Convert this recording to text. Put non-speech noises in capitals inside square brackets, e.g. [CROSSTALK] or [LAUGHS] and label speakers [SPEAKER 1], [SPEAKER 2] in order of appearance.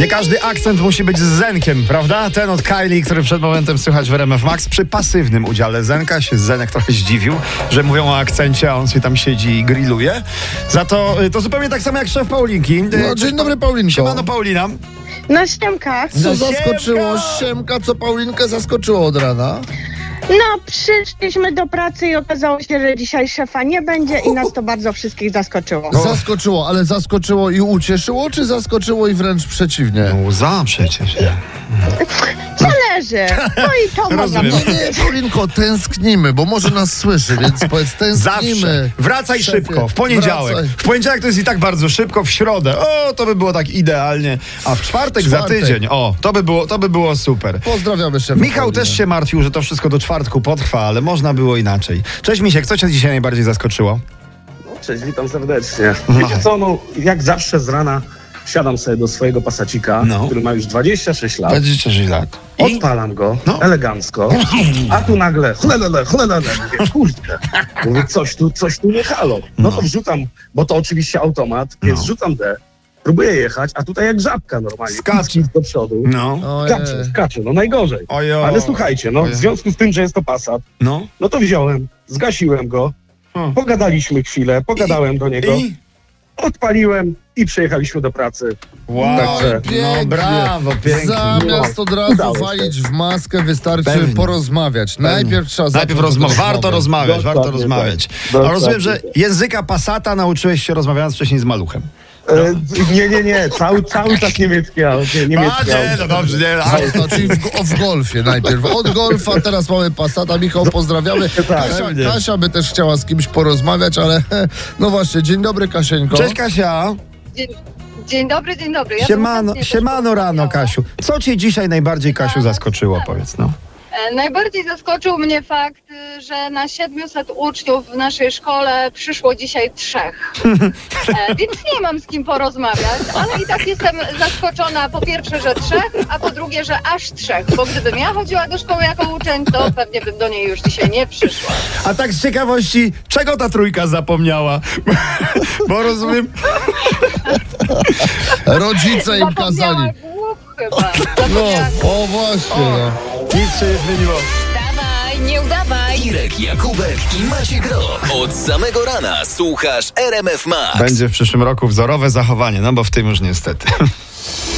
[SPEAKER 1] Nie każdy akcent musi być z Zenkiem, prawda? Ten od Kylie, który przed momentem słychać w RMF Max przy pasywnym udziale Zenka się Zenek trochę zdziwił, że mówią o akcencie, a on sobie tam siedzi i grilluje. Za to y, to zupełnie tak samo jak szef Paulinki.
[SPEAKER 2] No, dzień dobry, Paulinko.
[SPEAKER 1] Mano Paulina.
[SPEAKER 3] No siemka.
[SPEAKER 2] Co
[SPEAKER 1] No,
[SPEAKER 2] zaskoczyło
[SPEAKER 1] Siemka!
[SPEAKER 2] Siemka, co Paulinkę zaskoczyło od rana?
[SPEAKER 3] No przyszliśmy do pracy i okazało się, że dzisiaj szefa nie będzie i nas to bardzo wszystkich zaskoczyło.
[SPEAKER 1] No.
[SPEAKER 2] Zaskoczyło, ale zaskoczyło i ucieszyło, czy zaskoczyło i wręcz przeciwnie?
[SPEAKER 1] Łza przecież.
[SPEAKER 3] Zależy. No i to można
[SPEAKER 1] Rozumiem.
[SPEAKER 3] powiedzieć.
[SPEAKER 2] Nie, Paulinko, tęsknimy, bo może nas słyszy, więc powiedz,
[SPEAKER 1] [LAUGHS] Zawsze.
[SPEAKER 2] tęsknimy.
[SPEAKER 1] Wracaj
[SPEAKER 2] Szefie,
[SPEAKER 1] szybko, w poniedziałek.
[SPEAKER 2] wracaj.
[SPEAKER 1] W poniedziałek to jest i tak bardzo szybko, w środę. O, to by było tak idealnie. A w czwartek, za
[SPEAKER 2] Czwartek.
[SPEAKER 1] tydzień. O, to by było, to by było super.
[SPEAKER 2] Pozdrawiamy szefa.
[SPEAKER 1] Michał
[SPEAKER 2] Paulinę.
[SPEAKER 1] też się martwił, że to wszystko do czwartku potrwa, ale można było inaczej. Cześć Misiek, co cię dzisiaj najbardziej zaskoczyło?
[SPEAKER 4] No, Cześć, witam serdecznie. Wiecie co, no jak zawsze z rana siadam sobie do swojego pasacika,
[SPEAKER 1] No.
[SPEAKER 4] który ma już 26 lat.
[SPEAKER 1] 26 lat. I?
[SPEAKER 4] Odpalam go
[SPEAKER 1] No.
[SPEAKER 4] elegancko, a tu nagle chlelele, chlelele, mówię, kurde, mówię, coś tu, coś tu nie halo. No, to wrzucam, bo to oczywiście automat, więc
[SPEAKER 1] No.
[SPEAKER 4] wrzucam D, próbuję jechać, a tutaj jak żabka normalnie,
[SPEAKER 1] Skacze.
[SPEAKER 4] piski do przodu,
[SPEAKER 1] No.
[SPEAKER 2] Ojej.
[SPEAKER 4] skacze, skacze, no najgorzej.
[SPEAKER 1] Ojo.
[SPEAKER 4] Ale słuchajcie, no
[SPEAKER 1] Ojej.
[SPEAKER 4] w związku z tym, że jest to Passat,
[SPEAKER 1] No.
[SPEAKER 4] no to wziąłem, zgasiłem go,
[SPEAKER 1] Hmm.
[SPEAKER 4] pogadaliśmy chwilę, pogadałem do niego.
[SPEAKER 1] I?
[SPEAKER 4] odpaliłem i przyjechaliśmy do pracy.
[SPEAKER 1] Wow.
[SPEAKER 4] Także-
[SPEAKER 1] No
[SPEAKER 2] Pięknie.
[SPEAKER 1] brawo, pięknie.
[SPEAKER 2] Zamiast od razu
[SPEAKER 4] Udało się.
[SPEAKER 2] walić w maskę, wystarczy
[SPEAKER 1] Pewnie.
[SPEAKER 2] porozmawiać. Najpierw trzeba zacząć
[SPEAKER 1] Najpierw
[SPEAKER 2] od
[SPEAKER 1] rozma-
[SPEAKER 2] rozmowy.
[SPEAKER 1] warto rozmawiać,
[SPEAKER 4] Dokładnie
[SPEAKER 1] warto
[SPEAKER 4] tak.
[SPEAKER 1] rozmawiać. A
[SPEAKER 4] Dokładnie
[SPEAKER 1] rozumiem, że
[SPEAKER 4] tak.
[SPEAKER 1] języka pasata nauczyłeś się rozmawiając wcześniej z maluchem.
[SPEAKER 4] E, nie, nie, nie, cały, cały czas niemiecki aut, nie,
[SPEAKER 1] A
[SPEAKER 4] niemiecki
[SPEAKER 1] nie,
[SPEAKER 4] aut.
[SPEAKER 1] no dobrze, nie. A,
[SPEAKER 2] Ale to, czyli w, o, w golfie najpierw. Od golfa, teraz mamy Passata. Michał, pozdrawiamy. Kasia,
[SPEAKER 1] pewnie.
[SPEAKER 2] Kasia by też chciała z kimś porozmawiać, ale [LAUGHS] no właśnie, dzień dobry Kasieńko.
[SPEAKER 1] Cześć Kasia.
[SPEAKER 5] Dzień, dzień dobry, dzień dobry. Ja
[SPEAKER 1] Siemano,
[SPEAKER 5] bym chętnie też
[SPEAKER 1] siemano rano
[SPEAKER 5] porozmawiała.
[SPEAKER 1] Kasiu. Co cię dzisiaj najbardziej Kasiu zaskoczyło, powiedz no.
[SPEAKER 5] E, Najbardziej zaskoczył mnie fakt, y, że na 700 uczniów w naszej szkole przyszło dzisiaj
[SPEAKER 1] [LAUGHS]
[SPEAKER 5] trzech. E, Więc nie mam z kim porozmawiać, ale i tak jestem zaskoczona po pierwsze, że trzech, a po drugie, że aż trzech. Bo gdybym ja chodziła do szkoły jako uczeń, to pewnie bym do niej już dzisiaj nie przyszła.
[SPEAKER 1] A tak z ciekawości, czego ta trójka zapomniała? [LAUGHS] Bo rozumiem,
[SPEAKER 2] Rodzice im
[SPEAKER 5] Zapomniała
[SPEAKER 2] kazali.
[SPEAKER 5] głów chyba.
[SPEAKER 2] No,
[SPEAKER 5] Zapomniała głów.
[SPEAKER 2] o właśnie. No.
[SPEAKER 1] nic się nie zmieniło.
[SPEAKER 6] [LAUGHS] Dawaj, nie udawaj.
[SPEAKER 7] Irek Jakubek i Maciek Rok. Od samego rana słuchasz RMF Max.
[SPEAKER 1] Będzie w przyszłym roku wzorowe zachowanie, no bo w tym już niestety.